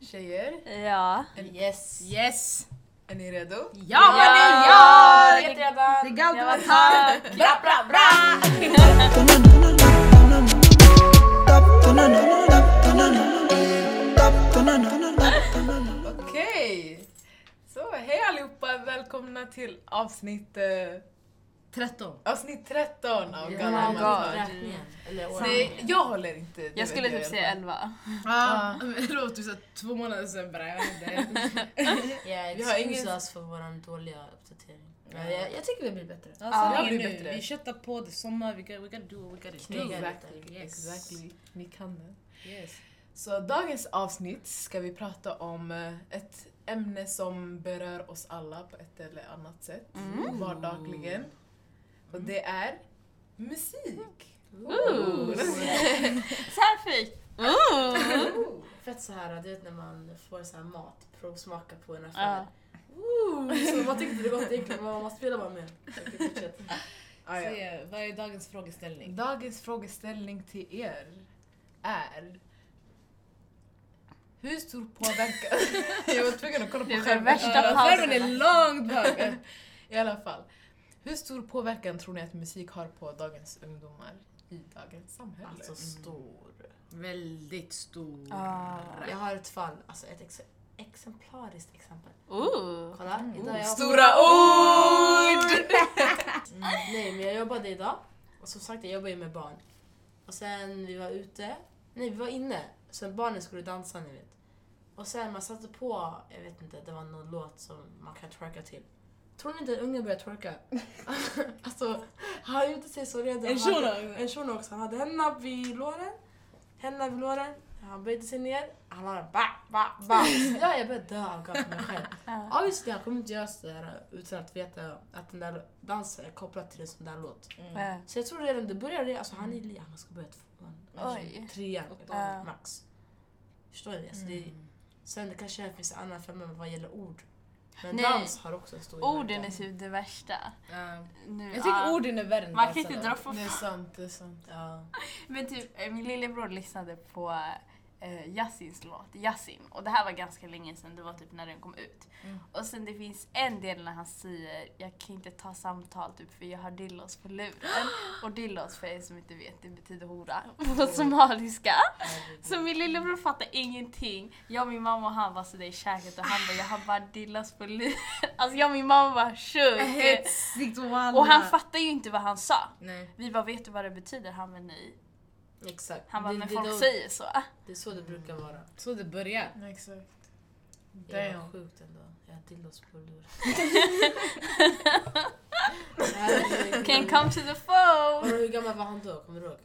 Tjejer, Ja. Yes! Yes! är ni redo? Ja, ja men det är jag! vet redan. Det är Gaudio Jag var Attack. tack. Bra, bra, bra! Okej! Så hej allihopa, välkomna till avsnitt, eh, 13. avsnitt 13 av Ja, Gammal God. Mandag. Räkningen. Eller Nej, jag håller inte. det Jag vet skulle typ i alla säga fall. 11. Ja, men det låter ju såhär två månader sedan bara. jag vet inte. Yeah, Vi har excuse ingen- us för vår dåliga uppdatering. Men jag, jag tycker vi blir bättre. Alltså, Ja, det är det blir nu. bättre. Vi köttar på, det är sommar, we gotta, we gotta do what we gotta do. Knega. Exactly, Yes. exactly. Ni kan det. Yes. Så dagens avsnitt ska vi prata om eh, ett ämne som berör oss alla på ett eller annat sätt. Mm. Vardagligen. Och det är musik. Ooh. Så här fick. Mm. Ooh. Fett så här, du vet när man får så här mat, provsmaka på en Ja. affär. Ooh, så man tyckte det var gott egentligen, men man spelar bara med. Okej, fortsätt. Ah, ja. Se, vad är dagens frågeställning? Dagens frågeställning till er är hur stor påverkan... jag var tvungen att kolla på Det är skärmen. värsta Ja, pausen. Skärmen är långt bak. I alla fall. Hur stor påverkan tror ni att musik har på dagens ungdomar i dagens samhälle? Alltså stor. Väldigt stor. Ah. Jag har ett fall, alltså ett ex exemplariskt exempel. Ooh. Kolla, idag jag Stora ord! Nej, men jag jobbade idag. Och som sagt, jag jobbar ju med barn. Och sen vi var ute. Nej, vi var inne. Sen barnen skulle dansa, ni vet. Och sen man satte på, jag vet inte, det var någon låt som man kan twerka till. Tror ni inte att ungen började twerka? alltså, han gjorde sig så redo. En Han hade- shuno. En shuno också. Han hade händerna vid låren. Händerna vid låren. Han böjde sig ner. Han har ba, ba, ba. Ja, jag började dö av gap mig själv. Ja, just det. Han kommer inte göra sådär utan att veta att den där dansen är kopplad till en sån där låt. Eh, Så jag tror redan det började, alltså han är liten, han ska börja tvåan, kanske Oj. trean Ja. max. Förstår ni? Alltså det, Mm. sen det kanske finns annan femma vad gäller ord. Men Nej. dans har också en stor Orden är inverkan. typ det värsta. Nu, Jag tycker ah. orden är värre än Man kan inte dansarna. dra för Det är sant, det är sant. Ja. Men typ, eh, min lillebror lyssnade på eh, Yassins låt, Yassin. Och det här var ganska länge sedan, det var typ när den kom ut. Mm. Och sen det finns en del när han säger jag kan inte ta samtal typ för jag har dillos på luren. Och dillos för er som inte vet, det betyder hora på somaliska. Så min lillebror fattar ingenting. Jag och min mamma och han var sådär i käket och han bara jag har bara dillos på luren. Alltså jag och min mamma var sjuk. Hetsigt walla. Och han fattar ju inte vad han sa. Nej. Vi bara vet du vad det betyder? Han var nej. Exakt. Han bara, Det- men det är folk då- säger Mm. så. Det är så det brukar vara. Så det börjar. Ja, Exakt. Det är Damn. sjukt ändå. Jag har dildos på lur. Herregud. Can come to the phone! Vadå, Hur gammal var han då? Kommer du ihåg?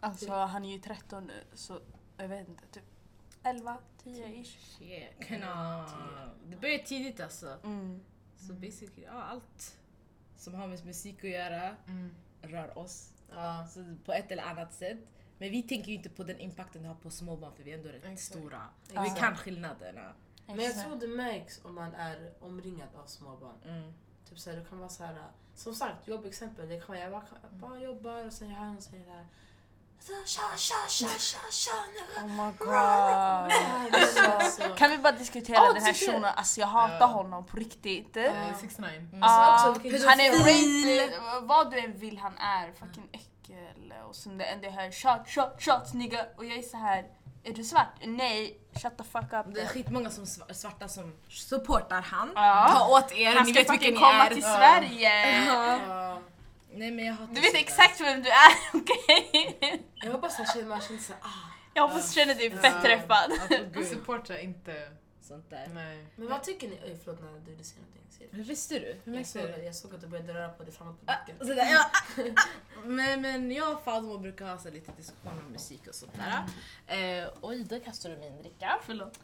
Alltså han är ju 13 nu, så jag vet inte, typ 11, 10 ish. Shit. Kna. Det börjar tidigt alltså. Mm. Så basically, ja, allt som har med musik att göra Mm. rör oss Ja. alltså, på ett eller annat sätt. Men vi tänker ju inte på den impacten det har på småbarn för vi är ändå rätt Exakt. stora. Ja. Vi kan skillnaderna. Men jag tror det märks om man är omringad av småbarn. Mm. Typ såhär, det kan vara så här. Som sagt, jobbexempel. Det kan vara jag bara, bara jobbar och sen jag hör någon säga det här. Så, Tja, tja, tja, tja, tja. Oh my god. Alltså, Kan vi bara diskutera Ja, den här tycker jag. shunon? Alltså jag hatar Ja. Alltså, honom på riktigt. Eh, 6ix9ine. Mm. Ah, Också vilken han är Mm. pedofil. rapist, vad du än vill han är fucking äckel. Och sen det enda jag hör shot, shot, shot nigga. Och jag är så här. är du svart? Nej, shut the fuck up. Det är skitmånga som sva- svarta som supportar han. Ja. Ta åt er, Han ni ska vet vilka fucking ni komma är. till Ja. Sverige! Ja. Nej men jag hatar Du vet sånt exakt vem du är, okej? Jag hoppas att man känner såhär, ah. Jag hoppas du känner dig Ja. fett träffad. där. Alltså, gud, Supporta inte. sånt där. Nej. Men vad tycker ni? Oj, förlåt när du ville säga någonting. Säg det. Hur visste du? Hur Jag märkte såg, du? att- jag såg att du började röra på dig framåt på Ah, blicken. sådär, ja, ah, ah. Men, men jag och Fadmo brukar ha så lite diskussioner om musik och sånt där. Eh, oj, då kastar du min dricka. Förlåt.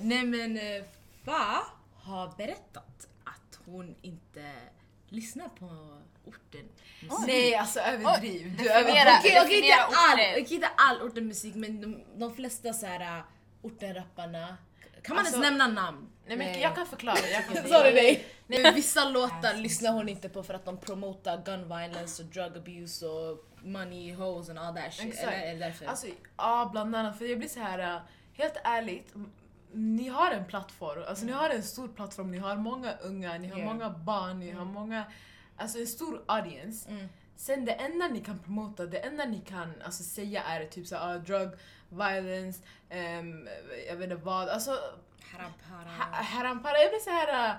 Nej men eh, Fa har berättat att hon inte lyssnar på orten. Nej, alltså överdriv. Du definiera. överdriver. Okej, okej, inte definiera all, orten. okej, inte all ortenmusik men de, de flesta så här, eh, ortenrapparna. Kan man Alltså- ens nämna namn? Nej, men jag kan förklara. Jag kan Sa du förklara. nej? Men vissa låtar Alltså. lyssnar hon inte på för att de promotar gun violence och drug abuse och money, hoes and all that shit. Exakt. Eller, eller därför. Alltså, ja bland annat. För jag blir så här äh, helt eh, ärligt, m- ni har en plattform, alltså ni har en stor plattform, ni har många unga, ni har Mm. Ja. många barn, ni har många, alltså en stor audience. Mm. Sen det enda ni kan promota, det enda ni kan alltså, säga är typ såhär, ah, drug, violence, ehm, jag vet inte vad. Alltså, Haram, haram. ha- harampara, jag blir såhär, äh,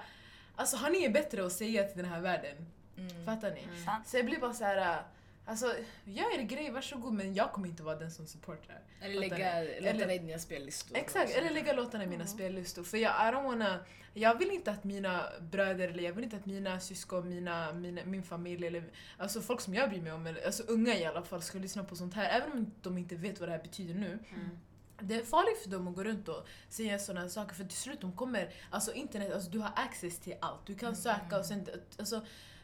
alltså har ni bättre att säga till den här världen? Mm. Fattar ni? Sant. Så jag blir bara såhär, äh, alltså gör er grej, varsågod men jag kommer inte vara den som supportar. Eller Fattar lägga, ni? låta Eller- dig dina spellistor. Exakt, eller lägga låtarna i mina spellistor. För jag, I don't wanna, jag vill inte att mina bröder eller jag vill inte att mina syskon, mina, mina, min familj eller alltså folk som jag bryr mig om, eller, alltså unga i alla fall, ska lyssna på sånt här. Även om de inte vet vad det här betyder nu. Det är farligt för dem att gå runt och säga sådana saker för till slut de kommer, alltså internet, alltså du har access till allt. Du kan söka och sen, alltså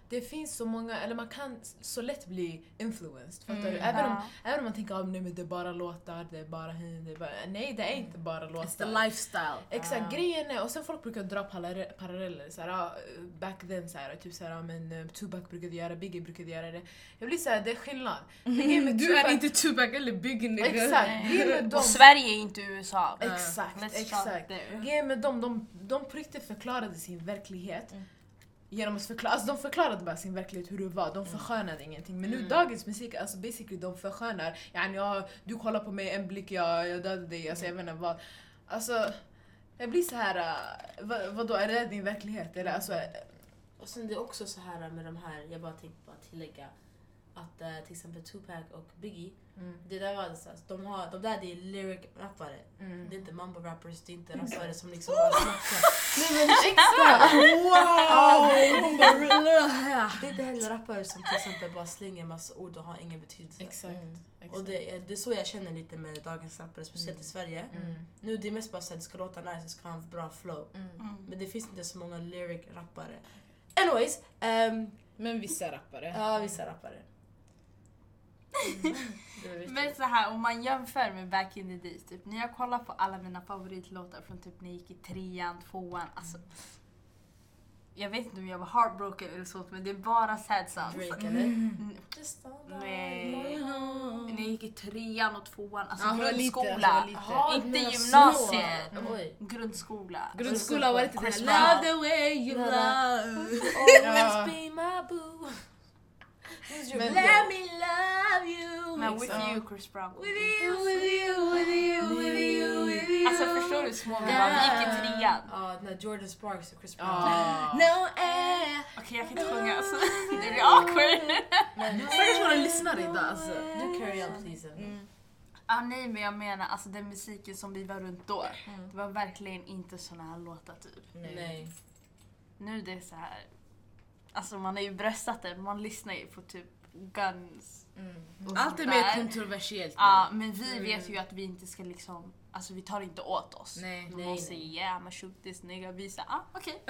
det finns så många, eller man kan så lätt bli influenced. Fattar du? Mm. Även om Ja. Även om man tänker att det är bara låtar, det är bara hin, det är bara... Nej, det är inte bara Mm. It's the låtar. lifestyle. Exakt, Ja. grejen är, och sen folk brukar dra parallell- paralleller. Så här, ah, back then, så här, typ så här, ah, men eh, Tupac brukade göra, Biggie brukade göra det. Jag blir såhär, det är skillnad. Grejen med Du är Tupac- inte Eh, Tupac eller Big nigga. Exakt, grejen med dem... Och Sverige är inte USA. Exakt, Let's exakt. start there. Grejen med dem, de, de på riktigt förklarade sin verklighet. Mm. Genom att förklara, alltså de förklarade bara sin verklighet hur det var, Mm. de förskönade ingenting. Men nu dagens musik, alltså basically de förskönar. Yani, ja, du kollar på mig en blick, jag, jag dödade dig, alltså, Mm. jag vet inte vad. Alltså, jag blir så här, äh, vad, vadå är det din verklighet? Eller, alltså, Mm. äh, Och sen det är också så här med de här, jag bara tänkte bara tillägga att eh, till exempel Tupac och Biggie, Mm. det där var så här, de, har, de där det är lyric rappare. Mm. Det är inte mambo rappers, det är inte rappare som liksom bara snackar. nej, men exakt! Wow! Det är inte heller rappare som till exempel bara slänger massa ord och har ingen betydelse. exakt. Mm. Och det, är- det är så jag känner lite med dagens rappare, speciellt i Sverige. Mm. Nu det är mest bara att det ska låta nice, det ska ha en bra flow. Men det finns inte så många lyric rappare. Anyways, ehm, Men vissa rappare. ja vissa rappare. Det var viktigt. Men så här, om man jämför med back in the days, typ, när jag kollar på alla mina favoritlåtar från typ när jag gick i trean, tvåan, alltså. Jag vet inte om jag var heartbroken eller så, men det är bara sad sounds. Drake eller? Mm. Just Nej. När jag gick i trean och tvåan, alltså Ja, hon var liten, alltså, hon var grundskola. liten. Jaha, Inte du menar gymnasiet. så. Oj. Grundskola. Alltså, Grundskola var inte Chris den här Love the way you Den love. Ja. Always be my boo. Who's your Men- boo? Let me love you. Men with Exakt. you Chris Brown. with you, with you, with you, with you. Alltså förstår du hur små vi var? Vi gick i trean. Ja, den där Jordan Sparks och Chris Brown. Ah. No air. Okej jag kan inte sjunga alltså. Det blir awkward. Men, Stackars våra lyssnare idag alltså. du carry on please. Emma. Ah, nej men jag menar alltså den musiken som vi var runt då. Det var verkligen inte såna här låtar typ. Nej. Nu det är så här. Alltså man har ju bröstat det, man lyssnar ju på typ Guns. och Allt är sånt mer där. kontroversiellt nu. Ja men vi vet ju att vi inte ska liksom, alltså vi tar inte åt oss. Nej. Man Nej, säger yeah man shoot this nigga, vi säger ah okej.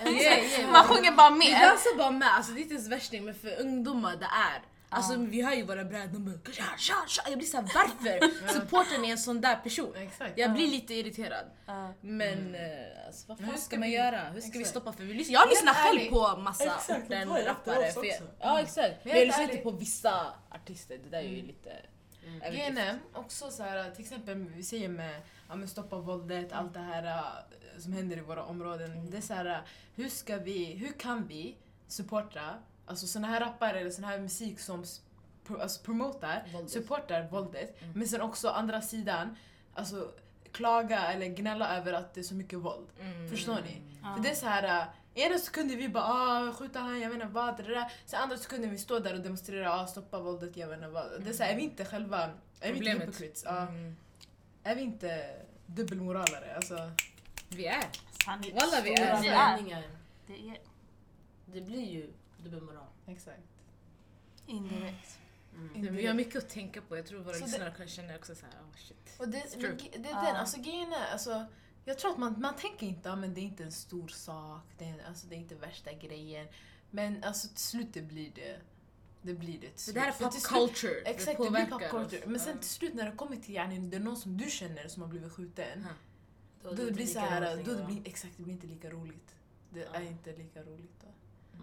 Yeah, yeah. Man sjunger bara Vi med. dansar bara med, alltså det är inte ens värsting men för ungdomar det är. Alltså vi har ju våra bröder, de bara tja, tja, tja. Jag blir såhär varför supportar ni en sån där person? Exakt. Jag blir lite irriterad. Ja. Men eh, alltså, vad fan hur ska ska man vi- göra? Hur ska vi exakt. stoppa? För vi lyssnar, jag lyssnar själv ärligt. på massa Exakt, orten det var ju rappare. efter oss För jag, också. ja exakt. Men jag helt lyssnar inte ärligt. på vissa artister, det där är ju lite... överdrift. GNM, också så här, till exempel vi säger med ja, men stoppa våldet, Mm. allt det här eh, som händer i våra områden. Det är så här, eh, hur ska vi, hur kan vi supporta alltså såna här rappare eller sån här musik som s- pro, alltså, promotar, Våldet. Mm. supportar våldet, men sen också andra sidan, alltså klaga eller gnälla över att det är så mycket våld. Mm. Förstår ni? Ja. För det är så här. äh, Ena sekunden vi bara ah, skjuta han, jag vet inte vad, det där. Sen andra sekunden vi står där och demonstrerar, ah, stoppa våldet, jag vet inte vad. Det är så här, är vi inte själva, är vi inte Problemet. Mm. hypokrits? Ja. Är vi inte dubbelmoralare? Alltså, Vi är. Sanning. Walla, vi är. Vi Stora är. vändningar. Det är Alltså, Det blir ju dubbelmoral. exakt. indirekt. Vi har mycket att tänka på, jag tror våra Mm. Så det- lyssnare kanske känner också såhär, oh shit. Och det, true. men ge- det är Ja. den, alltså grejen är, alltså, jag tror att man, man tänker inte, ah, men det är inte en stor sak, det är, alltså, det är inte värsta grejen. Men alltså till slut det blir det. Det blir det till Det där är slut. För pop till slut- culture, Exakt, det blir påverkar popcorn. oss. Men sen till slut när det kommer till yani, det är någon som du känner som har blivit skjuten. Ja. Då Då är det det blir inte så lika här, roligt då det längre, va? blir, exakt, det blir inte lika roligt. Det Ja. är inte lika roligt då.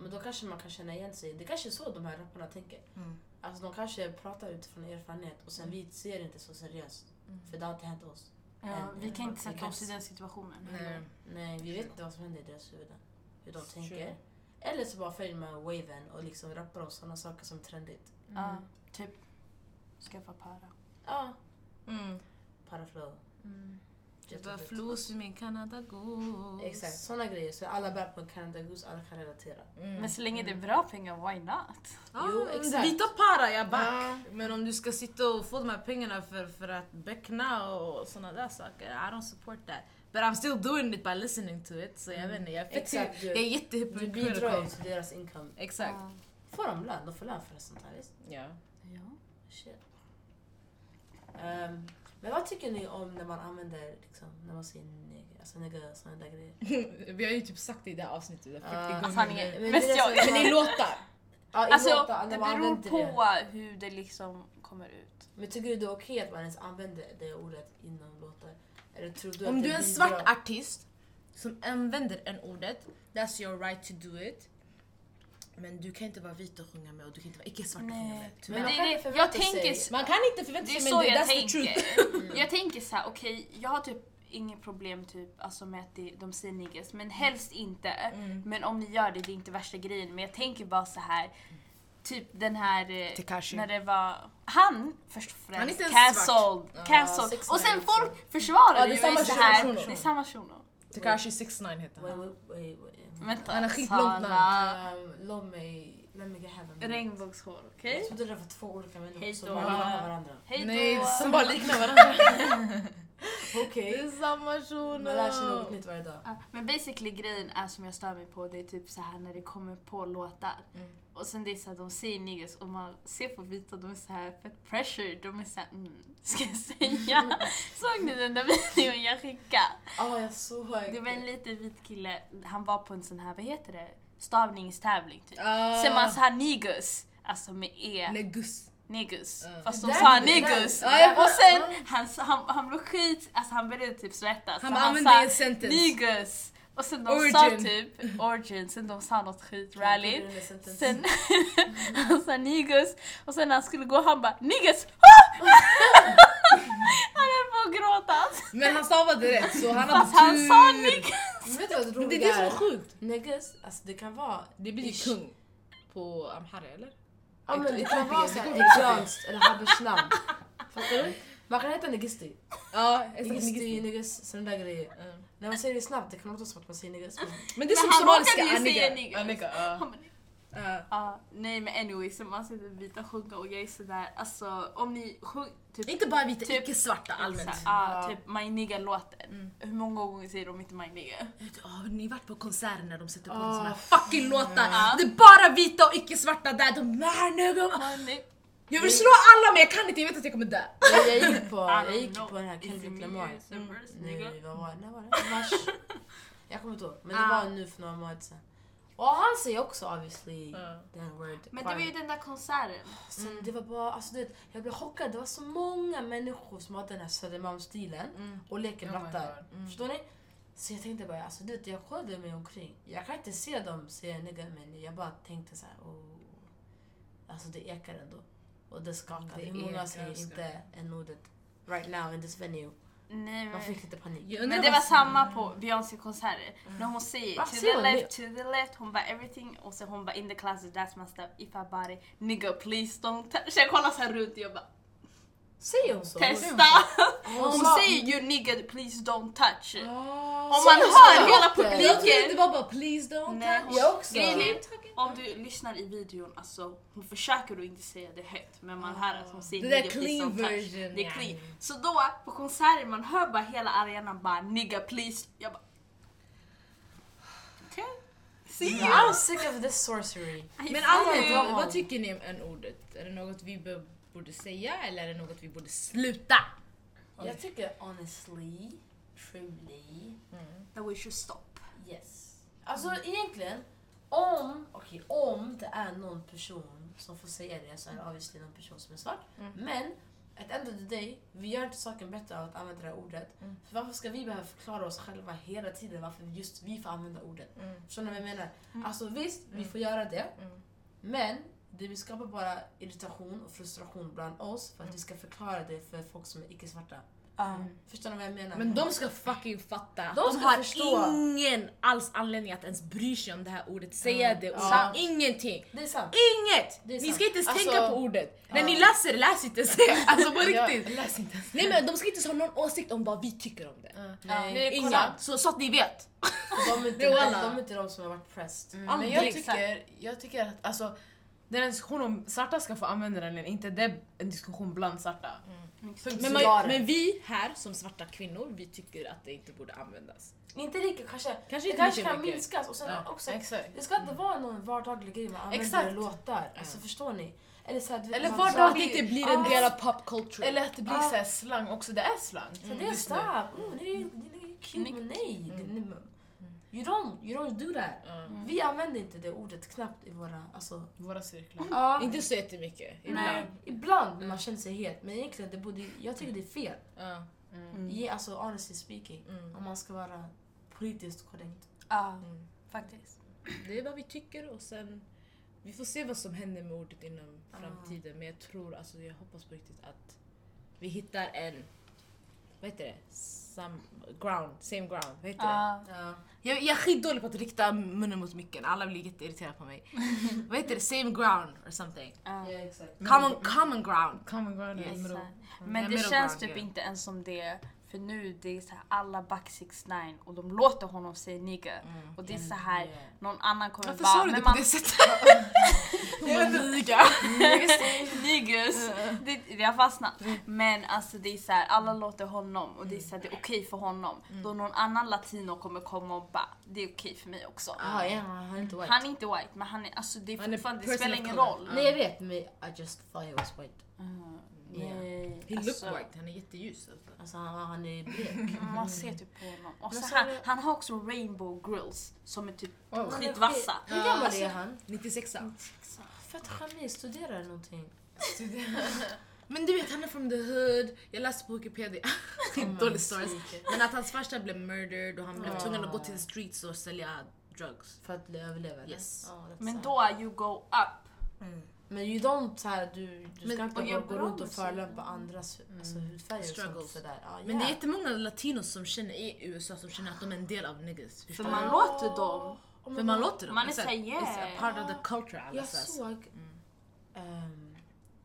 Men då kanske man kan känna igen sig. Det kanske är så de här rapparna tänker. Mm. Alltså de kanske pratar utifrån erfarenhet och sen vi ser det inte så seriöst. För det har inte hänt oss. Ja, vi kan inte sätta Yes. oss Eh, i den situationen. Nej. Nej, vi vet inte vad som händer i deras huvuden. Hur de Sure. tänker. Eller så bara följer man waven och liksom rappar om sådana saker som är trendigt. Ja, typ skaffa para. Ja, Mm. paraflow. Mm. Det var flos i min Canada Goose. Exakt, sådana grejer. Så alla bär på en Canada Goose, alla kan relatera. Mm. Men så länge det är bra pengar, why not? Ah, Jo, jo, exakt. exakt. Vita para, jag back. Ja. Men om du ska sitta och få de här pengarna för, för att beckna och såna där saker, I don't support that. But I'm still doing it by listening to it, så jag vet inte, jag är fett Mm. Exakt, hy- du- jag är Du bidrar ju jättehypocritical. till deras income. Exakt. Ja. Får de lön? De får lön för sånt här, visst? Ja. Ja. Shit. Ehm, men vad tycker ni om när man använder, liksom, när man säger nigger, alltså nigger, sådana där grejer? Vi har ju typ sagt det i det här avsnittet 40 Ah, gånger Alltså han nu. är Men mest det är jag. så- Men i låtar! Ja, i Alltså låtar, det när man beror använder på hur det liksom kommer ut. Men tycker du det är okej att man ens använder det ordet innan låtar? Eller tror du Om att du det är en bidrar- svart artist som använder en ordet, that's your right to do it. Men du kan inte vara vit och sjunga med och du kan inte vara icke-svart och sjunga med. Nej. tyvärr. Men man det kan är inte det, jag förvänta sig- tänker s- Man kan inte förvänta Det är sig så men jag that's the truth. tänker. Jag tänker så här, okej, jag har typ inget problem typ alltså med att det, de säger niggas, Mm. men helst inte. Men om ni gör det, det är inte värsta grejen. Men jag tänker bara så här typ den här eh, Tekashi. när det var han först och främst Han är inte ens cancelled, cancelled. Six och sen Nine folk försvarar Ja, det är ju samma i så shuno, här. shuno, Det är shuno. samma shuno. Tekashi 69 heter Wait, han. wait, wait, wait. Vänta, Han har skitlångt namn. Sara, Um, låt mig... Let me get heaven. Regnbågshår, okej? Jag trodde det var två olika människor Hej som då. bara var varandra. Hej då! Nej, som bara liknar varandra. Okej. Oh, är samma Man lär sig något nytt varje dag. Ja, Men basically grejen är som jag stör mig på, det är typ så här när det kommer på låtar. Mm. Och sen det är så här, de säger niggas och man ser på vita, de är så här fett pressure. De är så här, mm, ska jag säga? Såg ni den där videon jag skickade? Ja, Ah, jag såg. Det var en liten vit kille, han var på en sån här, vad heter det? Stavningstävling typ. Ah. Mm. Sen man så här niggas, alltså med e. Negus. Niggus. Ja. Fast de Där- sa där- niggus. Ja, jag Mm. och sen, fattar. han, sa- han, han blev skit, alltså han började typ svettas. Han Så använder sa en sentence. Niggus. Och sen de sa Origin. typ origin, sen de sa något skit, Jag rally. trodde det var sentence. Sen han sa niggus och sen när han skulle gå han bara niggus! han höll på att gråta. Men han stavade rätt så han hade Fast han sa tur. niggus! Men Vet du vad det Men det är roliga det som är är? sjukt. Niggas, alltså det kan vara... Det blir ju ish. kung på amhara eller? Ja men det kan Etiopien, vara det såhär kommer bli Etiopien. eritreanskt eller habeshland. Fattar du? Man kan heta negisti. Ja, Negisti, negus, sådana där grejer. Mm. När man säger det snabbt, det kan låta som att man säger negus. men- Men det är som Men han somaliska råkade ju säga aniga. niggas. Annika, ja. Han bara, Ja, nej men anyway, så man sitter vita sjunga och jag är sådär, alltså om ni sjung, typ, Inte bara vita, Typ- icke-svarta allmänt. Exakt, Ja, Ja. Mm. typ My Nigga låten. Hur många gånger säger de inte My Nigga? Ja, Har ni varit på konserter när de sätter på Ah, såna här fucking låtar? Ja. Det är bara vita och icke-svarta där. De här nu. Ah, My Ni- Jag vill slå alla men jag kan inte, jag vet att jag kommer dö. Jag, jag gick på, I don't jag gick know. på den här Is it Kendrick me Lamar. Mm. is the first nigga? Nu, vad var det? När var det? Mars? Jag kommer inte ihåg. Men det Ah. var nu för några månader sedan. Och han säger också obviously Ja. den word. Men det var ju Mm. den där konserten. Sen det var bara, alltså du vet, jag blev chockad. Det var så många människor som hade den här Södermalmsstilen Mm. och leker Oh my brattar. God. Förstår ni? Så jag tänkte bara, alltså du vet, jag kollade mig omkring. Jag kan inte se dem säga nigga, men jag bara tänkte så här, oh. Alltså det ekar ändå. Och det skakar. Det Hur många ekar, alltså. säger skakar. inte en ordet right now in this venue? Nej, Man men, fick lite panik. Jag undrar men det vad- var samma på Beyoncé-konserter. När hon säger Vad to säger the hon left, to the left, hon bara everything och sen hon bara in the closet that's my step, if I body, nigga please don't touch. Så jag kollar så här runt och jag bara Säger hon så? testa. Hon Hon sa- säger ju nigga please don't touch. Om Om man hör hela Ah. Jag trodde det publiken. var bara please don't Nej, touch. hon- Jag också. Grejen är, om du lyssnar i videon, alltså hon försöker att inte säga det högt men man hör att hon säger Det där nigga, clean please don't touch. version, Det är ja. clean. Så då på konserter man hör bara hela arenan bara nigga please. Jag bara okej. See you. I'm sick of this sorcery. I Men see allmänt, you. vad, vad tycker ni om en ordet? Är det något vi be- borde säga eller är det något vi borde sluta? Jag tycker honestly, truly, That we should stop. yes. Alltså egentligen, om, okej om det är någon person som får säga det så är det obviously någon person som är svart. Mm. Men at the end of the day, vi gör inte saken bättre av att använda det här ordet. Mm. För varför ska vi behöva förklara oss själva hela tiden varför just vi får använda ordet? Mm, Förstår ni vad jag menar? Alltså visst, vi får göra det. Men det vi Mm. skapar bara irritation och frustration bland oss för att vi ska förklara det för folk som är icke-svarta. Förstår ni vad jag menar? Men de ska fucking fatta. De De, ska har förstå. ingen alls anledning att ens bry sig om det här ordet. Säga det ordet. Sant. Ingenting. det är sant. Inget! Det är Ni sant. ska inte ens Alltså- tänka på ordet. När ni läser, läs inte det. Alltså på riktigt. Jag läser inte ens. Nej men de ska inte ens ha någon åsikt om vad vi tycker om det. Ja. Nej. Nej, kolla. Inga. Mm. Så, så att ni vet. De är inte, Det är alla. de, är inte de som har varit pressed. Mm, Men jag Aldrig, tycker, jag tycker att alltså, det är en diskussion om svarta ska få använda den eller inte, det är en diskussion bland svarta. Mm. Exakt. Men, Så var man, det. men vi här som svarta kvinnor, vi tycker att det inte borde användas. Inte lika kanske. Kanske det inte kanske lika kan mycket. minskas. Och sen Ja, också, exakt. det ska inte vara någon vardaglig grej man använder Exakt. i låtar. Alltså förstår ni? Eller, så här, du vet, Eller man- vardaglig- Att det inte blir Ah. en del av pop culture. Eller att det blir Ah. så här slang också, det är slang. Så Mm, det Mm. är just nu. stark. Mm, det, är, det är kul, men nej. Det, nej men- you, don't, you don't do that. Vi använder inte det ordet knappt i våra... Alltså, Våra cirklar. ja, Inte så jättemycket. nej. Ibland. Ibland när man känner sig het. Men egentligen, det borde, jag tycker det är fel. Ja. Ge, alltså, honestly speaking. Mm. Om man ska vara politiskt korrekt. Ja, Mm. faktiskt. Det är vad vi tycker och sen vi får se vad som händer med ordet inom Ah. framtiden. Men jag tror, alltså jag hoppas på riktigt att vi hittar en, vad heter det? Some ground, same ground, vad Ah. heter det? Ja. Ja. Jag, jag är skitdålig på att rikta munnen mot micken, alla blir jätteirriterade på mig. vad heter det? Same ground or something. Ja. exakt. Common, common ground. Common ground Yes. yes. Exakt. Men det middle känns ground, typ yeah. inte ens som det. För nu det är så här alla back 69 och de låter honom säga nigga. Och det är så här någon annan kommer Mm. bara... Varför sa du det men på man- det sättet? Jag vet inte. Niggas! Mm. Det, det har fastnat. Men alltså det är så här, alla låter honom och det är, Mm. så här, det är okej för honom. Då någon annan latino kommer komma och bara, det är okej för mig också. Ah, ja, han är inte white. Han är inte white men han är, alltså det, är Han är fortfarande, det person spelar of ingen color. roll. Nej jag vet, men I just thought he was white. Mm. Yeah. Nej, He look alltså, white, han är jätteljus. Alltså. Alltså han, han är blek. Man ser typ på honom. Och Men så så han, är det- han har också rainbow grills som är typ Wow. skitvassa. Hur gammal är han? 96 Fett charmig, studerar någonting. Men du vet han är from the hood, jag läste på Wikipedia, Oh dålig stories. Men att hans farsa blev murdered och han blev tvungen att gå till the streets och sälja drugs. För att överleva eller? Yes. Ja, that's Men sad. då you go up. Men you don't så här, du, du ska Men- inte och jag gå- gå bra runt och musik. förolämpa andras alltså, hudfärg och sånt Struggles. sådär. Ah, yeah. Men det är jättemånga latinos som känner i USA som känner att de är en del av niggas. För förstår man du? låter dem. För man låter dem. Man Alltså, är It's a- såhär, yeah. It's a part of the culture. alla Jag så här. såg... ehm,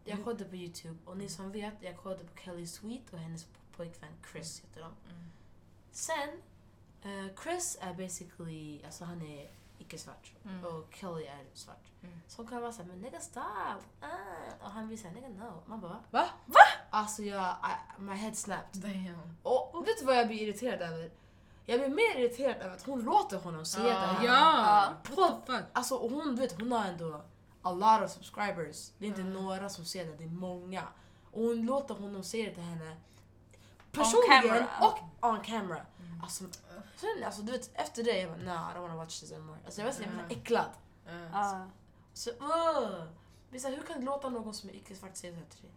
jag kollade på Youtube och ni som vet, jag kollade på Kelly Sweet och hennes pojkvän Chris heter de. Sen, eh, Chris är basically, alltså han är icke-svart och Kelly är svart. Så hon kan vara såhär, men nigga stop! Ah. Och han blir såhär, nigga no. Man bara, va? Va? Alltså jag, I, my head snapped. Damn. Och vet du vad jag blir irriterad över? Jag blir mer irriterad över att hon låter honom säga det här. Uh, Ja! What the fuck? Alltså och hon, du vet, hon har ändå a lot of subscribers. Det är Mm. inte några som ser det, det är många. Och hon låter honom säga det till henne personligen camera. Mm. och on camera. Alltså, sen, alltså du vet, efter det jag bara nah, I don't wanna watch this anymore. Alltså jag var så jävla Mm. äcklad. Uh, Ja. Så, uh. Men så här, hur kan du låta någon som är icke-svart säga det här till dig?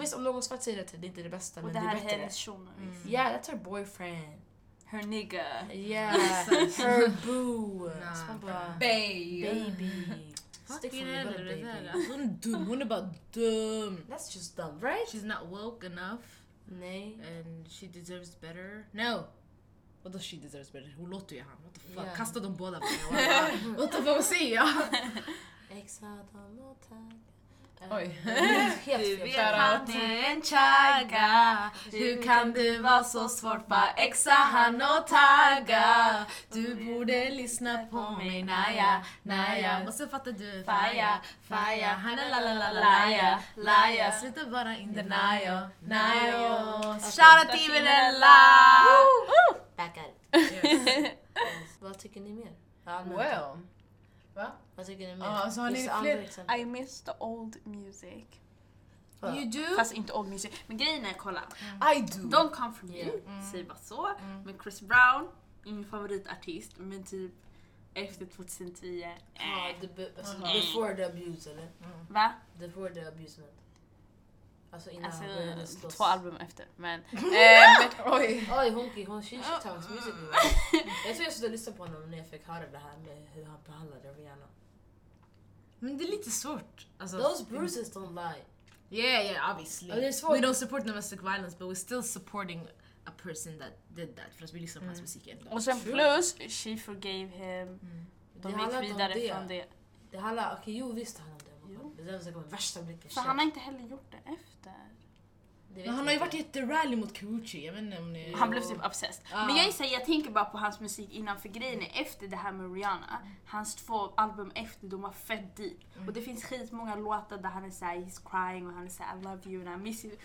Visst, om någon svart säger det till dig, det är inte det bästa, Mm. och men det här det, är Mm. är bättre. hennes shuno. Yeah, that's her boyfriend. Her nigga. Yeah, her boo. Så man bara, babe. baby. Stick from the butter, baby. Hon är dum, hon är bara dum. That's just dumb, right? She's not woke enough Nej. and she deserves better. No! Vadå she deserves better? Hon låter ju han. What the fuck? Yeah. Kasta dem båda på mig. What the fuck, vad säger jag? Oj. Helt fel. vet att du är en chaga Hur kan du vara så svårt för exa Oh, han och tagga? Du borde lyssna på mig naja, naja Och så fattar du faja, faja Han är la la la la laja, laja Sluta bara inte naja, naja Alltså, Shoutout till Iverella! Backar. Vad tycker ni mer? Allmänt. Well. Va? Vad tycker ni mer? Ja, alltså, har ni Finns det fler- andra exempel? I miss the old music. You do? Fast inte old music. Men grejen är, kolla. I do. Don't come from you, säg bara så. Men Chris Brown är min favoritartist, men typ efter 2010, Ja, eh. the be- alltså, Mm. Before the abuse eller? Va? Before the abusement. Alltså innan Alltså, han började slåss. två album efter. Men, ehm, Oj. Oj, Honky, hon she, she talks music. jag tror jag satt och lyssnade på honom när jag fick höra det här med hur han behandlade Rihanna. Men det är lite er svårt. Alltså, Those bruises don't lie. Yeah, yeah, obviously. Och det är svårt. we don't support domestic violence but we're still supporting a person that did that för att vi lyssnar på hans musik ändå. Och sen True. plus, she forgave him. Det De handlar gick inte om vidare det. från det. Det handlar, okej jo visst det handlar om Jo. det. Men Det är den som kommer värsta blicken. För han har inte heller gjort det efter. Det vet Men han jag har ju varit inte. jätterally mot Kikuchi, jag vet inte om ni... Han blev typ obsessed. Ja. Men jag gissar, jag tänker bara på hans musik innan för grejen är efter det här med Rihanna, hans två album efter, de var fett deep. Mm. Och det finns skitmånga låtar där han är såhär he's crying och han är såhär I love you and I miss you. I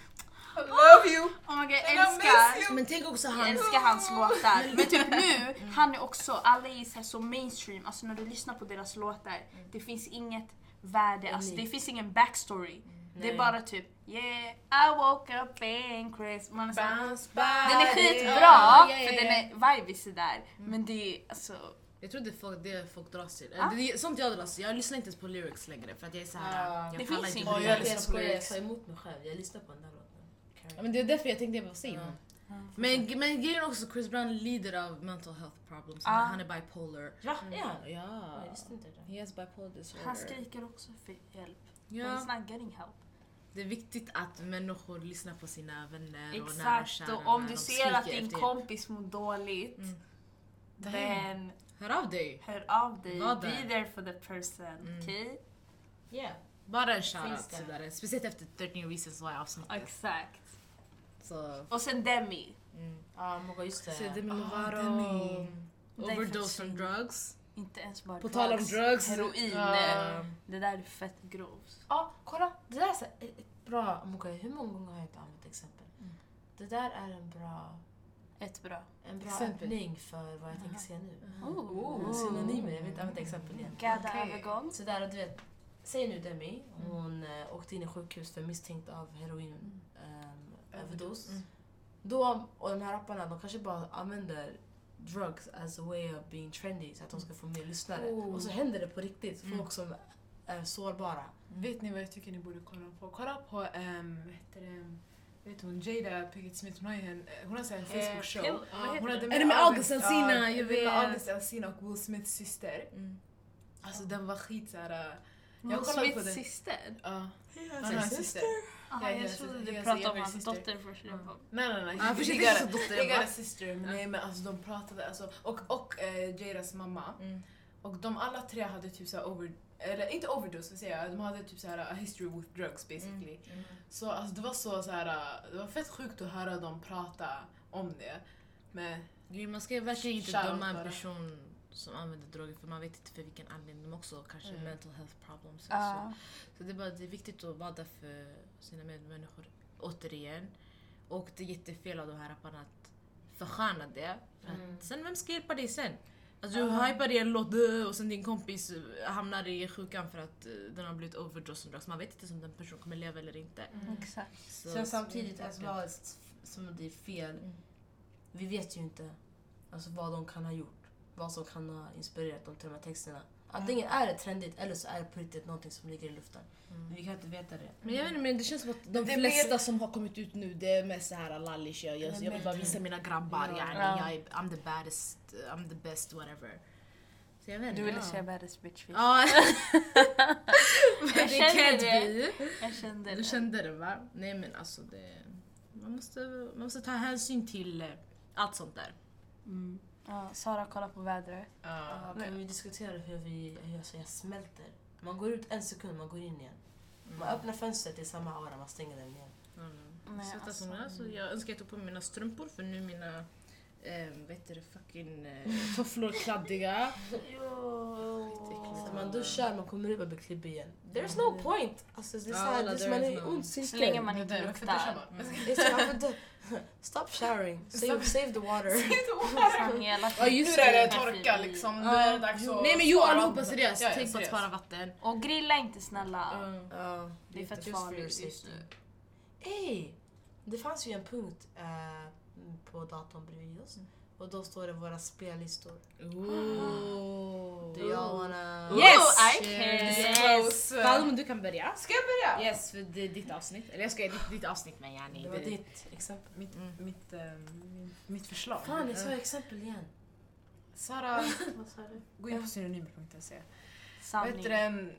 love you! Oh my god, jag And I miss älskar, you! Men tänk också jag han... Mm. älskar hans låtar. Men typ nu, han är också, alla är så, här så mainstream, alltså när du lyssnar på deras låtar, Mm. det finns inget värde, alltså, det Unikt. finns ingen backstory. Det är Nej. bara typ yeah, I woke up in Chris. Man är så här, Bounce Den är back. skitbra, Ja, ja, Mm. ja, för den ja. är vibey sådär. Men det är alltså... Jag tror det är folk, det folk dras till. Ah. Det är sånt jag dras till. Jag lyssnar inte ens på lyrics längre för att jag är såhär... Ah. jag Det pallar finns inte inte. lyrics. Ja, jag Jag lyssnar på skojar, jag lyrics. sa emot mig själv. Jag lyssnar på den där låten. Ja, men det är därför jag tänkte, vad säger hon? Ja. Men, men grejen är också, Chris Brown lider av mental health problems. Ah. Han är bipolar. Va? Mm. Är han? Ja. Mm. Jag visste inte det. He has bipolar disorder. Han skriker också för hjälp. Han Ja. snackar ingen help. Det är viktigt att människor lyssnar på sina vänner och nära och Exakt, kära och om när du de ser skriker att din efter hjälp. kompis mår dåligt, Mm. then Hör av dig! hör av dig. Var Be där. Mm. there for the person. Okej? Yeah. Bara en Finns shoutout det? sådär. Speciellt efter 13 reasons why avsnittet. Exakt. Så, Och sen Demi. mm. Ja, men vad just det. Så Demi Ah, Lovato. Demi. Overdose från drugs. Inte ens bara På tal om drugs. Heroin. Ja. Um, Det där är fett grovt. Ja, kolla. Det där är så- ett ett bra... Mokai, hur många gånger har jag inte använt exempel? Mm. Det där är en bra, Ett bra. en bra Exempel. öppning för vad jag tänker säga nu. Oh. Synonymer, jag vill inte använda exempel igen. Gadda Okej. övergång. Så där, och du vet. Säg nu Demi, Mm. hon eh, åkte in i sjukhus för misstänkt av heroin ehm, överdos. Mm. Då, och de här rapparna, de kanske bara använder drugs as a way of being trendy så att de ska få mer lyssnare. Oh. Mm. Och så händer det på riktigt, folk som är sårbara. Vet ni vad jag tycker ni borde kolla på? Kolla på, um, vad heter det, vet hon Jada Pickett Smith, hon har ju en, hon har så här en Eh, Facebook show. Pill- vad heter Hon det? hade Är det med August Alsina? Ja, Jag med vet. August Alsina och Will Smiths syster. Mm. Alltså den var skit såhär... Will Jag kollade på Smiths den. syster? Ja, Han han har en syster. Aha, Ja, jag hennes trodde syster. du Hennes pratade om jävla hans syster. dotter först. Jag bara, Nej nej nej. Han försökte Ligare- kyssa dottern ligare va? syster, men nej men alltså de pratade alltså, och, och eh, Jadas mamma. Mm. Och de alla tre hade typ såhär over... Eller inte overdose, vad säger jag? De hade typ såhär a history with drugs basically. Mm. Så alltså det var så såhär, det var fett sjukt att höra dem prata om det. Men Gud, Man ska verkligen inte Shoutout döma en bara. person som använder droger för man vet inte för vilken anledning. De också kanske Mm. mental health problems. och Så. Ja. Så det är, bara, det är viktigt att vara där för sina medmänniskor återigen. Och det är jättefel av de här rapparna att försköna det. För att, Sen vem ska hjälpa dig sen? Alltså, du Mm. Ja. hypar i en låt "Dö", och sen din kompis eh, hamnar i sjukan för att eh, den har blivit overdose drugs. Man vet inte om den personen kommer leva eller inte. Mm. Exakt. Så, Sen samtidigt så- as well as, som det är fel. Mm. Vi vet ju inte alltså, vad de kan ha gjort. Vad som kan ha inspirerat dem till de här texterna. Antingen är det trendigt eller så är det på riktigt någonting som ligger i luften. Men vi kan inte veta det. Men jag vet inte, men det känns som att de det är flesta mer- som har kommit ut nu det är mest så här lallish. Jag, jag, jag vill bara visa mina grabbar. Ja. Yani, Ja. jag är, I'm the baddest, I'm the best, whatever. Så jag vet inte. Du ville Ja. säga världens bitchface. Ja. Jag Men det kände can't det. be. Jag kände Du det. kände det va? Nej men alltså det... Man måste, man måste ta hänsyn till eh, allt sånt där. Mm. Ja, Sara kollar på vädret. ja. Ja, kan vi diskutera hur, vi, hur alltså, jag smälter? Man går ut en sekund, man går in igen. Man öppnar fönstret i samma aura, man stänger den igen. Nej, Mm. Svettas alltså. som jag, så jag önskar jag tog på mig mina strumpor för nu är mina eh, vad heter det, fucking eh, tofflor kladdiga. Så man duschar, man kommer ut och blir klibbig igen. There's no point! Alltså, det är Ja, så här, alla det är som dörrar en är ond Så länge cirkel. man inte Där, varför duschar luktar. man? Det är så här, vänta. Stop showering, save, Stop. save the water. Fan, hela Ja, tiden. just Hur är det Kaffe torka i. liksom? Ja. Nu är det dags att Nej men jo spara allihopa vatten. seriöst, Ja, ja, tänk på att seriöst. spara vatten. Och grilla inte snälla. Mm. Ja, Det är fett just for your farligt just safety. nu. Ey! Det fanns ju en punkt eh, på datorn bredvid oss. Och då står det våra spellistor. Ooh. Do y'all wanna... Ooh, Yes! I Yes. can. Yes. Salm, du kan börja. Ska jag börja? Yes, för det är ditt avsnitt. Eller jag ska ditt, ditt avsnitt men yani. Det var det- ditt exempel. Mitt, Mm. mitt, ehm, mitt förslag. Eh, Fan, jag sa exempel igen. Sara, Vad sa du? gå in på synonymer.se. Vad Sanning. Mm. heter det?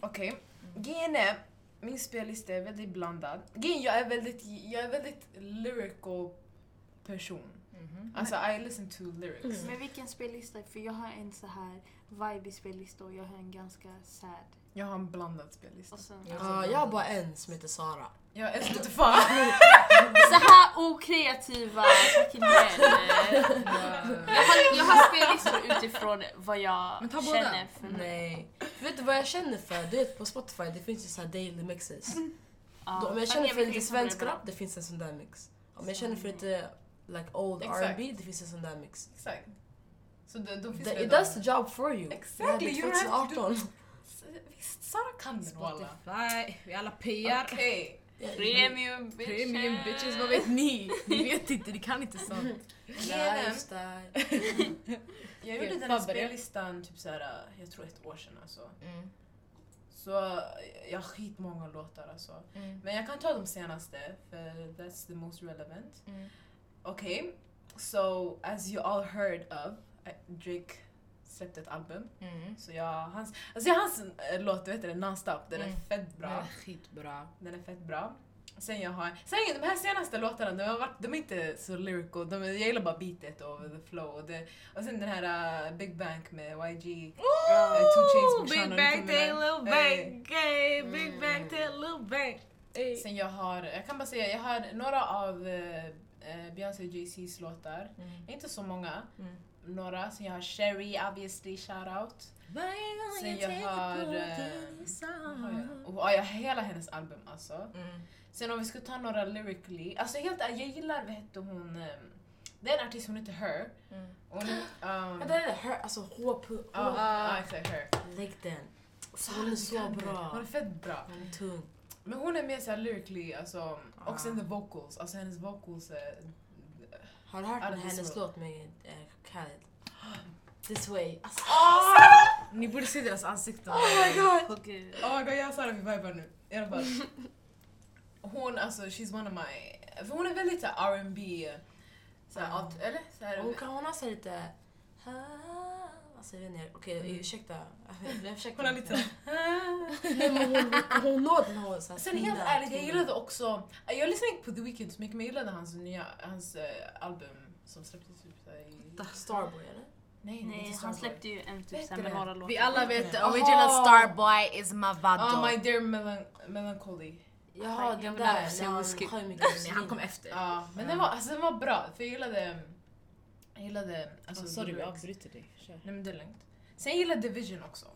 Okej. Grejen är, min spellista är väldigt blandad. Grejen, Jag är väldigt, jag är väldigt lyrical person. Mhm. Alltså I Mm. listen to lyrics. Men vilken spellista? För jag har en så här vibey spellista och jag har en ganska sad. Jag har en blandad spellista. Och Alltså. sen, Ja, jag har bara en som heter Sara. Jag älskar Spotify. Så här okreativa fucking män. Jag har, jag har spellistor utifrån vad jag Men ta båda. känner för mig. Nej. För vet du vad jag känner för? Du vet på Spotify det finns ju så här daily mixes. Um, Då, om jag känner för lite svensk rap det finns en sån där mix. Oh, Om jag känner för lite like old Exakt. R&B det finns en sån där mix. Exakt. Så då, då finns The, det it de- does the job for you. Exactly, Det you här don't är have to do- 2018. Visst, Sara kan den walla. Spotify, vi alla PR. Okej. Premium bitches. Premium bitches, vad vet ni? Ni vet inte, ni kan inte sånt. Grejen Lifestyle. är, Jag gjorde den här Förbered. spellistan typ såhär, jag tror ett år sedan alltså. Mm, Så jag har skitmånga låtar alltså. Mm. Men jag kan ta de senaste, för that's the most relevant. Mm. Okej, so as you all heard of, eh, Drake släppte ett album. Mm. Så jag, hans, alltså jag har hans eh, låt, du vet den, Nonstop, den Mm. är fett bra. Bra. Skitbra. Den är fett bra. Sen jag har, sen de här senaste låtarna, de, har varit, de är inte så lyrical, de, jag gillar bara beatet och the flow. Och, det, och sen den här uh, Big Bang med YG. Eh, Two Chainz brorsan Big och Bang Nicki Day, Minaj. Lil Bang, gay, Big Bang Day, Lil Bang. Ey. Sen jag har, jag kan bara säga, jag har några av eh, eh, Beyoncé och Jay-Z's låtar. Inte så många. Mm. Några. Sen jag har Sherry, obviously, shout out. Sen jag har... eh, vad har jag? Och, ja, jag har hela hennes album alltså. Ah, Mm. Sen om vi skulle ta några lyrically, alltså helt ärligt, jag gillar, vad hette hon, ehm, det är en artist, hon heter Her. Mm. Och hon, um, Ja, Den är her, alltså H... ja, H- ja, exakt, Her. Lägg den. Så Alltså, hon är så Hon bra. är fett bra. Hon är tung. Men hon är mer såhär lyrically, alltså, Ah. och sen the vocals, alltså hennes vocals är... Har du hört Ja, den det är hennes så. låt med eh, Khaled? Ah, This way. Alltså, Ni borde se deras ansikten. Oh my god! Åh gud. Oh my god, jag och Sara vi vibar nu. I alla fall. Hon alltså, she's one of my... För hon är väldigt såhär R&B såhär, Ah. allt, eller? Såhär, hon kan hon har så här lite... Ah, Alltså jag vet inte, okej Mm. ursäkta. Jag försökte hon har lite inte. såhär... Nej, men hon, hon når den här så här Sen helt fina, ärligt, jag fina. gillade också... Jag lyssnade inte på The Weeknd så mycket men jag gillade hans nya hans, eh, album som släpptes typ såhär i... Starboy eller? Nej, Nej, han släppte ju en typ såhär med Bättre. några låtar. Vi alla vet Jaha. original Starboy is Mavado. Oh my dear melan melancholy. Jaha, Jag den vill där. ha när han Zelenskyj. sjöng med Nej, han kom efter. Ja, men den var, alltså, den var bra för jag gillade... Jag gillade... Alltså, the lyrics. avbryter dig. Kör. Nej men det är lugnt. Sen jag gillade Division också.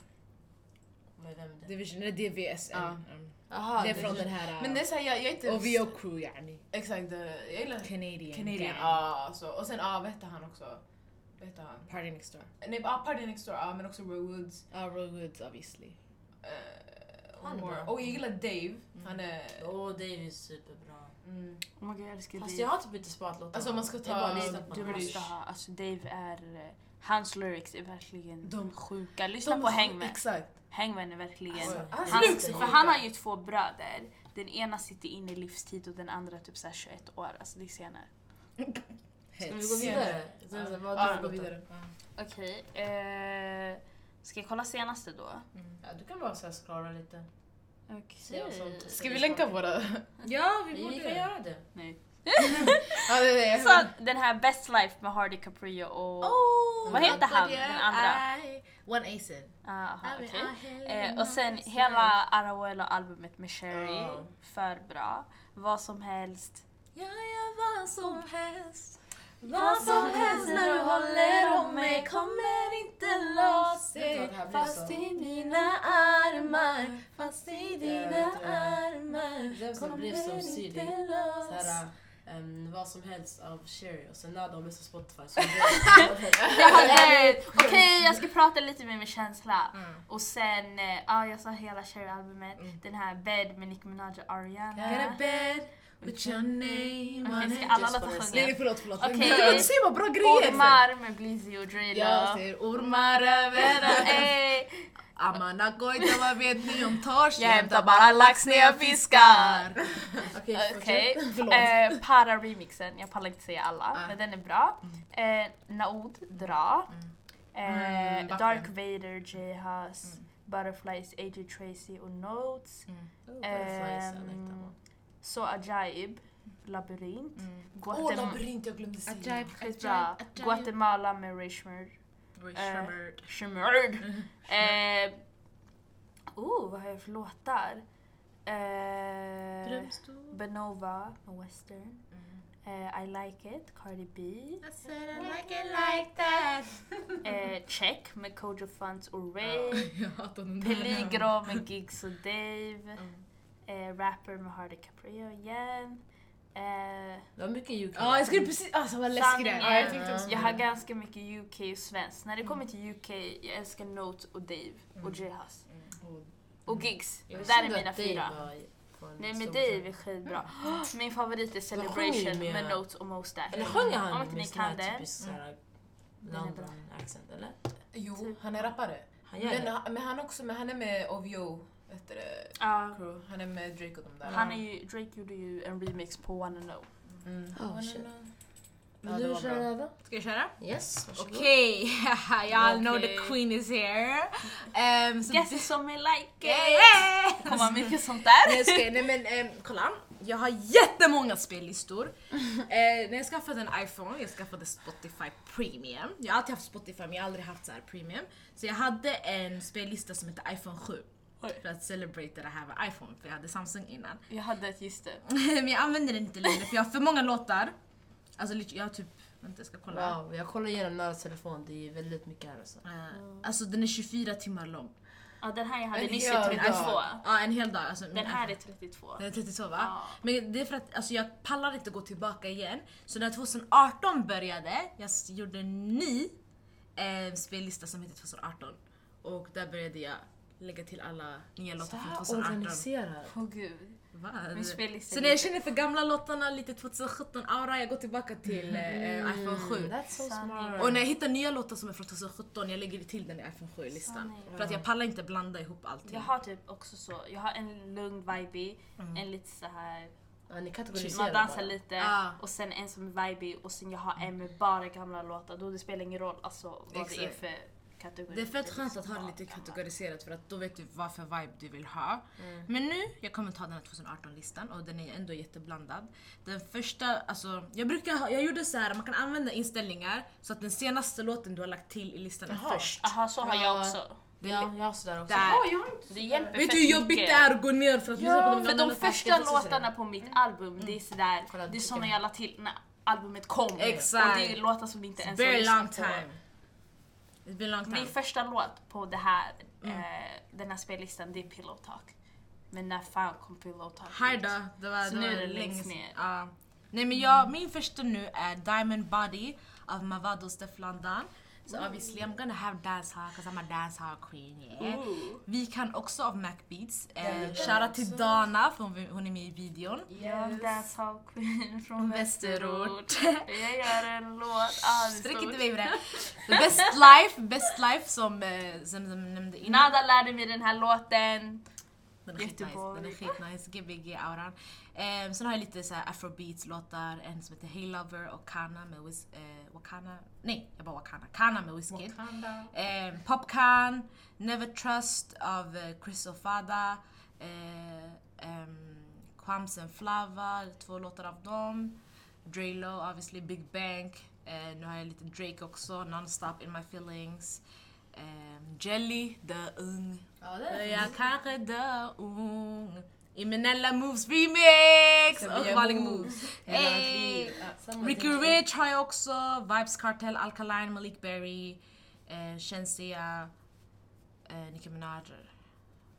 Vad är vem det? Division, eller DVSN. Ja. Mm. Jaha, Det är från den här... Men det är såhär, jag, jag är inte... OVO crew yani. Exakt, det- jag gillar Canadian. Canadian. gang. Ja, ah, alltså. Och sen, ah, vad hette han också? Vad hette han? Party next door. Nej, ah, Party Next Door, ah, men också Roy Woods. Ja, Roy Woods obviously. eh, Han är Moore. bra. Och jag gillar Dave. Han är... Åh, oh, Dave är superbra. Mm. Oh my god, jag älskar Fast Dave. jag har typ inte sparat låtar. Alltså, om man ska ta- Jag har bara lyssnat på Du dem. måste ha, alltså Dave är, eh, hans lyrics är verkligen De- sjuka. Lyssna på Hangman. Exakt. Hangman är verkligen, Alltså, hans hans, lyrics är för sjuka. han har ju två bröder. Den ena sitter inne i livstid och den andra typ såhär 21 år, alltså det är senare. Ska vi Hets. gå vidare? Sen, sen, Ja, vad ah, gå har du för låtar? vidare. Okej, eh, ska jag kolla senaste då? Mm. Ja, du kan bara så här scrolla lite. Okej. Ja, sånt. Ska vi länka våra... Ja, vi Vi kan göra det. Nej. Ja, det är det. Så den här Best Life med Hardy Caprio och... Oh, Vad heter han, den andra? I, one Acen. Ah, Aha, I okej. mean, ah, I hate Eh, och sen my hela life. Arawaela-albumet med Sherry, Ja. för bra. Vad som helst. Jag gör vad som helst. Vad som helst när du håller om mig kommer inte loss Vet du vad det här blir Fast så? i dina armar, fast i vet dina vad det här- armar Det som blev som kommer Siri. inte loss Såhär, um, vad som helst av Sherry och sen la de med på Spotify. Så det, Jag har eh, Okej, jag ska prata lite mer med känsla. Mm. Och sen, eh, ja jag sa hela Cherry-albumet. Den här Bed med Nicki Minaj och Ariana. Get a bed with your Okej, name on ska it alla låta sjunga? Nej, förlåt, förlåt. Okej. Du säger bara bra grejer. Ormar med Blizzy och Drilo. Jag ser ormar överallt. Ey, Amanda Goita, vad vet ni om torsk? Jag hämtar bara lax när jag fiskar. Okej, fortsätt. Okej, eh, Para-remixen, jag pallar inte säga alla, men den är bra. Eh, Naoud, Dra. Eh, Mm, vacker. Dark Vader, J-Hus. Butterflies, AJ Tracy och Notes. Mm. Butterflies, I like that Ehm, one. Så Ajaib, Labyrint. Mm. Guatem- Åh, labyrint, jag glömde säga. Ajaib, Skitbra. ajaib, ajaib. Guatemala med Rishmer. Eh, Richard. Shemurd. Mm. Eh, oh, vad har jag för låtar? Eh, Drömstol. Benova med Western. Mm. Eh, I like it, Cardi B. I said I like it like that. Eh, Check med Kojo Funds och Ja, Ray. Jag hatar den där. Peligro med Giggs och Dave. Mm. Eh, rapper med Hardy Caprio igen. Eh, Det var mycket UK. Ja, jag skulle precis... Alltså vad läskig den Sanningen. är. Ja, jag tyckte också jag det. har ganska mycket UK och svenskt. När det kommer till UK, jag älskar Notes och Dave och J-Hus. Och Och Gigs. Det Jag där är kände mina att Dave fyra. var i- på en Nej men stor Dave är scen. skitbra. Min favorit är sjunger Celebration ju med, med- Notes och Mos Def. Eller sjöng Om han inte ni med sån kan här det. Mm. typisk såhär Den är bra. London accent eller? Jo, Typ. han är rappare. Han gör Men, det. han- men han också, men han är med OVO, vet du det? Ja. Crew. Han är med Drake och de där. Han är ju, Drake gjorde ju en remix på One and O. Mm. Oh, shit. Ja, det du var kör bra. över? Ska jag köra? Yes, varsågod. Okej, y'all know the Okej. queen is here. Um, so Guess it som I like it! Yeah. Kommer mycket sånt där. Nej, jag skojar. Nej men ehm, kolla, jag har jättemånga spellistor. Eh, när jag skaffade en iPhone, jag skaffade Spotify Premium. Jag har alltid haft Spotify men jag har aldrig haft så här Premium. Så jag hade en spellista som hette iPhone 7. Oj. För att celebrate det här med iPhone, för jag hade Samsung innan. Jag hade ett, just det. men jag använder den inte längre för jag har för många låtar. Alltså lit- jag har typ, vänta jag ska kolla. Wow, jag kollar igenom Naras telefon. Det är väldigt mycket här alltså. Eh, alltså den är 24 timmar lång. Ja den här jag hade Men nyss gör är 32. Ja en hel dag. Alltså, min Den här iPhone. är 32. Den är 32 va? Ja. Men det är för att alltså, jag pallar inte gå tillbaka igen. Så när 2018 började, jag s- gjorde en ny eh, spellista som hette 2018. Och där började jag lägga till alla nya låtar Ah, från 2018. Organiserad. Åh gud. Va? Min spellista Så är när jag lite- känner för gamla låtarna, lite 2017-aura, jag går tillbaka till eh, iPhone 7. That's so Sanning. smart. Och när jag hittar nya låtar som är från 2017, jag lägger till den i iPhone 7-listan. Sanning. För att jag pallar inte blanda ihop allting. Jag har typ också så, jag har en lugn vibey, Mm. en lite så här Ja, ni man kategoriserar dansar bara. lite Ah. och sen en som är vibey och sen jag har en med bara gamla låtar då det spelar ingen roll alltså, vad det är Exakt. för kategori. typ. Det är fett skönt att ha det Bara lite gamla. kategoriserat för att då vet du vad för vibe du vill ha. Mm. Men nu, jag kommer ta den här 2018-listan och den är ändå jätteblandad. Den första, alltså jag brukar ha, jag gjorde så här, man kan använda inställningar så att den senaste låten du har lagt till i listan är Jaha. först. Aha, så har jag Ja. också. Ja, jag har sådär också. Där. jag har inte Det hjälper Vet fett du hur jobbigt mycket. det är att gå ner för att lyssna på de För gamla de låtarna? första precis säga låtarna på mitt album, det är Mm. sådär, Kolla, det är tycker såna jag. jag la till när albumet kom. Exakt. Och det är låtar som inte ens Very lyssnat long time. It's been long Min time. första låt på det här, Mm. eh, den här spellistan, det är Pillow Talk. Men när fan kom Pillow Talk Här ut? då, det var, Så det nu var är det längst länge- ner. Ja. Nej men jag, min första nu är Diamond Body av Mavado Steph Landan. So obviously I'm gonna have dance hall cause I'm a dance hall queen yeah. Ooh. Vi kan också av Macbeats. Eh, Den Shoutout till också. Dana för hon, hon är med i videon. Jag är dancehall queen från Västerort. Västerort. Jag gör en låt. Ah, det är Sträck stort. inte mig för det. The best life, best life som, eh, som de nämnde innan. Nada lärde mig den här låten. Den är skitnice, Göteborg. den är skitnice, gbg-auran. Um, sen har jag lite så här afrobeats-låtar, en som heter Hey Lover och Kana med Wiz... eh, Wakana? Nej, jag bara Wakana. Kana med Wizkid. Um, Popcan, Never Trust av eh, Chris Ofada. Uh, um, Quams and Flava, två låtar av dem. Drelo, obviously Big Bang. Eh, nu har jag lite Drake också, Nonstop In My Feelings. Um, Jelly, The Ung. Ja, det Är är Jag kanske dör ung Imenella Moves remix! Sevilla Och Valing Moves. Moves. Hela hans Hey! liv. Ja. samma Ricky DJ. Rich har jag också, Vibes Cartel, Alkaline, Malik Berry, eh, Shensia, eh, Nicki Minaj,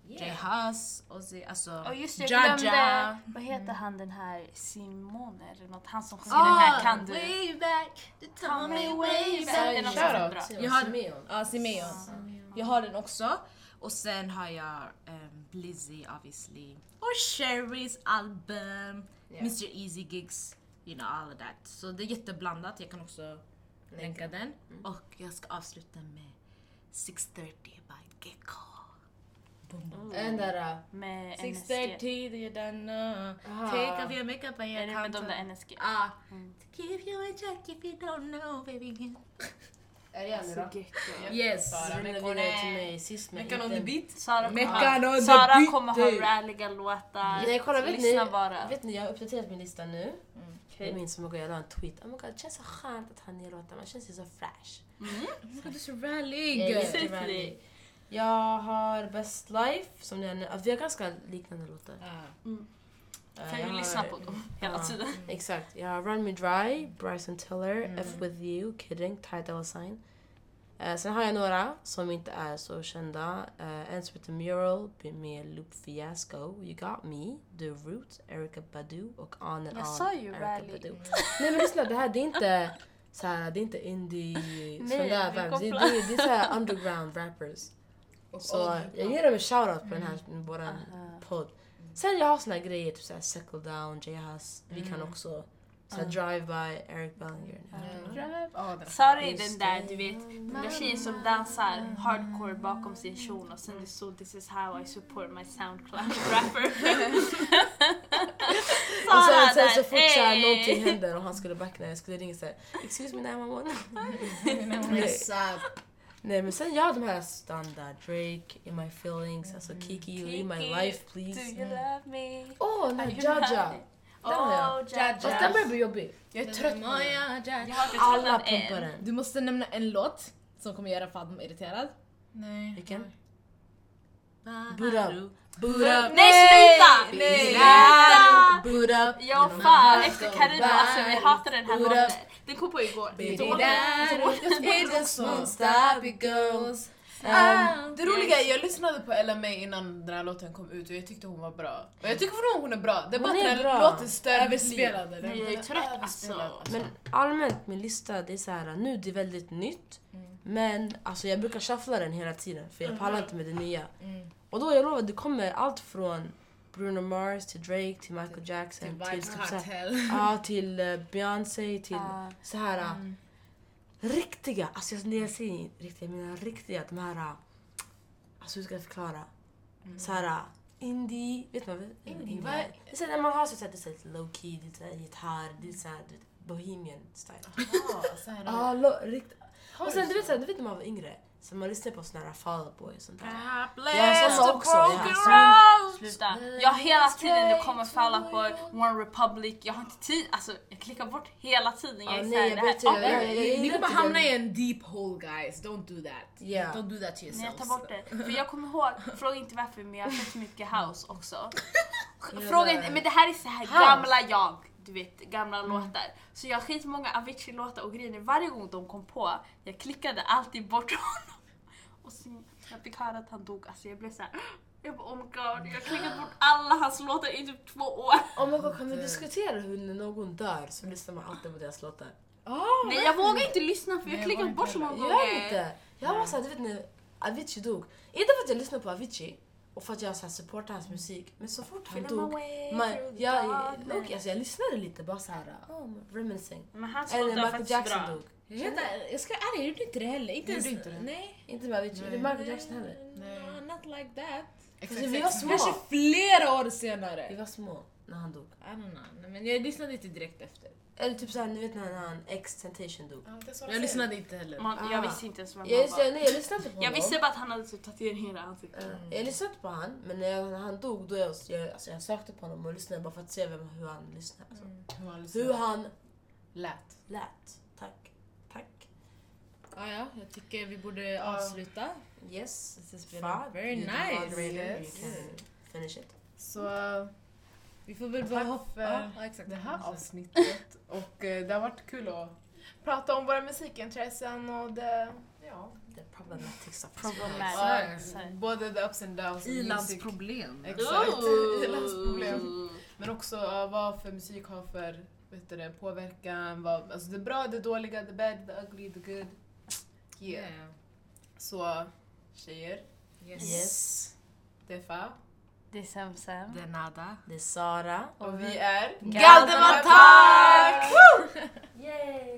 Jay Yeah. Huss, Ozzy, alltså Och just det, jag Jaja. glömde. Vad heter han den här Simone eller något? Han som sjunger Ah, den här Kan du? Way back, you tell me way Det är back. något Shout som är out bra. Simon, Jag har- Simeon. Ja, Simeon. Jag har den också. Och sen har jag um, Blizzy obviously. Och Sherrys album. Ja. Mr Easy Gigs. You know all of that. Så det är jätteblandat. Jag kan också länka den. Och jag ska avsluta med 630 by Gecko. Boom, boom. Den där... äh, Med NSG. 630, do you don't know. Ah. Take off your makeup and Är your Ah. det med de contour. där NSG? Ah. To give you a check if you don't know baby. Är det jag nu då? Yes. Sara. Rulla vidare till mig sist men Meckan on the inte- beat. Sara Meckan kommer, on the Sara beat kommer day. ha ralliga låtar. Nej kolla, vet Lyssna ni, bara. Mm. vet ni jag har uppdaterat min lista nu. Okej. Jag minns som igår jag la en tweet. Oh my god, det känns så skönt att han gör låtar, man känns ju så fresh. Du är så rallig. Jag är Precis. jättevanlig. Jag har Best Life, som ni har nu. Alltså, vi har ganska liknande låtar. Eh, Kan jag ju har- lyssna på dem hela Ja. tiden. Exakt. Jag har Run Me Dry, Bryson Tiller, Mm. F With You, Kidding, Tidal Sign. Eh, sen har jag några som inte är så kända. Eh, Ends With The Mural, Be Me Loop Fiasco, You Got Me, The Root, Erica Badu och On and On. Jag sa ju Erykah Rally. Badu. Nej men lyssna, det här det är inte så här, det är inte indie, sån Nej, där vi vibes. Det, kopplar. det, det är så här underground rappers. Och Så Old jag Town. ger dem en shoutout på den här, Mm. våran podd. Sen jag har såna här grejer, typ såhär Settle Down, J-Hus. Vi kan Mm. också såhär Drive-By, Eric Bellinger. Ja, den- Sara är den där, du vet, den där tjejen som dansar Mm. hardcore bakom sin kjol och sen det stod this is how I support my Soundcloud rapper. Och sen, sen så där, fort såhär "Ey!" någonting händer och han skulle backa när jag skulle ringa såhär Excuse me 911. Yes. uh, Nej men sen jag har de här standard Drake, In My Feelings, alltså Kiki, Leave My Mm, Kiki, Life Do Please. you love me? Åh, oh, den här Are you Jaja. happy? Den har jag. Oh, Jaja. Fast den börjar bli jobbig. Jag är trött på den. Jag har inte Alla tröttnat pumpar än. den. Du måste nämna en låt som kommer göra Fadmo irriterad. Nej. Vilken? Mm. Ah, Boot up. Boot up. Nej sluta! Nej. Sluta! Boot up. Ja fan, efter Carina, alltså vi hatar den här Boot låten. up. Den kom på igår. Baby, Så- It just won't stop, it goes. Ah. Ehm, Det roliga är jag lyssnade på LMA innan den här låten kom ut och jag tyckte hon var bra. Och jag tycker fortfarande hon är bra. Det är bara Hon är att den bra. här låten stör Överspelad eller? Nej, jag är trött Överspelad. alltså. Men allmänt min lista, det är så här, nu det är väldigt nytt. Mm. Men alltså jag brukar shuffla den hela tiden för jag Mm-hmm. pallar inte med det nya. Mm, Och då jag lovar, det kommer allt från Bruno Mars till Drake till Michael Jackson till, Vibes typ så här, Cartel. ja, till eh, Beyoncé till Ja. så här eh, riktiga, alltså jag, när jag säger riktiga, jag menar riktiga, de här eh, alltså hur ska jag förklara? Så här eh, indie, vet man vad Indie, indie vad- är? Det är så här, när man har så här, det är så här, lite low key, lite så här gitarr, det är så här du vet, bohemian style. Ja, så här. Ja, lo- rikt- Har och du sen du så? vet, så här, du vet när man var yngre, så man lyssnade på såna här Fall Out Boy och sånt där. Bless såna the också, jag har broken såna. roads. Sluta. Jag har hela tiden, det kommer Fall Out Boy, One Republic, jag har inte tid, alltså jag klickar bort hela tiden. Jag Ja, är nej, såhär, jag det här- vet ju, jag Ja, vet. gillar Ni kommer inte hamna den. i en deep hole guys, don't do that. Yeah. Don't do that to yourselves. Nej, jag tar bort det. För jag kommer ihåg, fråga inte varför men jag har sett mycket house också. Fråga inte, men det här är så här gamla jag, du vet gamla låtar. Så jag har skitmånga Avicii-låtar och grejer. Varje gång de kom på, jag klickade alltid bort honom. Och sen jag fick höra att han dog, alltså jag blev såhär jag bara oh my god, jag har klickat bort alla hans låtar i typ två år. Oh my god, kan vi diskutera hur när någon dör så lyssnar man alltid på deras låtar? Nej jag vågar inte lyssna för jag Nej, klickar jag bort så många Gör gånger. inte! Jag var såhär, du vet när Avicii dog. Inte för att jag lyssnar på Avicii och för att jag så här supportar hans musik. Men så fort han Feel my dog, way man, through the jag, darkness. okay, alltså jag lyssnade lite bara såhär, oh, reminiscing. Men hans Eller låtar när är Michael faktiskt Jackson bra. dog. Jag, ska, inte- jag ska vara ärlig, jag gjorde inte det heller. Inte Gjorde ens, inte det? Nej. Inte med Avicii, eller Michael Jackson heller. Nej. No, not like that. Exakt, Alltså, vi var exakt. små. Kanske flera år Vi senare. var små när han dog. I don't know. Nej, Men jag lyssnade inte direkt efter. Eller typ såhär, ni vet när han, X-Tentation dog. Ja, det är så Jag lyssnade inte heller. Man, jag Ah. visste inte ens vem Jag, han lyssnade, var. nej, jag lyssnade inte på Jag honom. visste bara att han hade typ tatueringar i ansiktet. Eh, Jag lyssnade inte på han, men när jag, när han dog då jag, jag, alltså jag sökte på honom och lyssnade bara för att se vem, hur han lyssnade. Alltså. Mm. Hur han lyssnade. Hur han lät. lät. Tack. Tack. Ah, ja, jag tycker vi borde avsluta. Yes. This has been very nice. Yes. You can finish it. Så Vi får väl bara tack hoppa. för Ja, exakt. det här avsnittet. Och eh, det har varit kul att prata om våra musikintressen och det, ja. The problematic stuff. Problematic. Ja, Sorry. både the ups and downs. of music. I-landsproblem. Exakt, Ooh. i-landsproblem. Men också ja, vad för musik har för vet du det, påverkan. Vad, alltså det bra, det dåliga, the bad, the ugly, the good. Yeah. Yeah. Så tjejer, Yes. Yes. Defa. Det är Sam-Sam. Det är nada. Det är Sara. Och vi är Galdematak! Woo! Yay!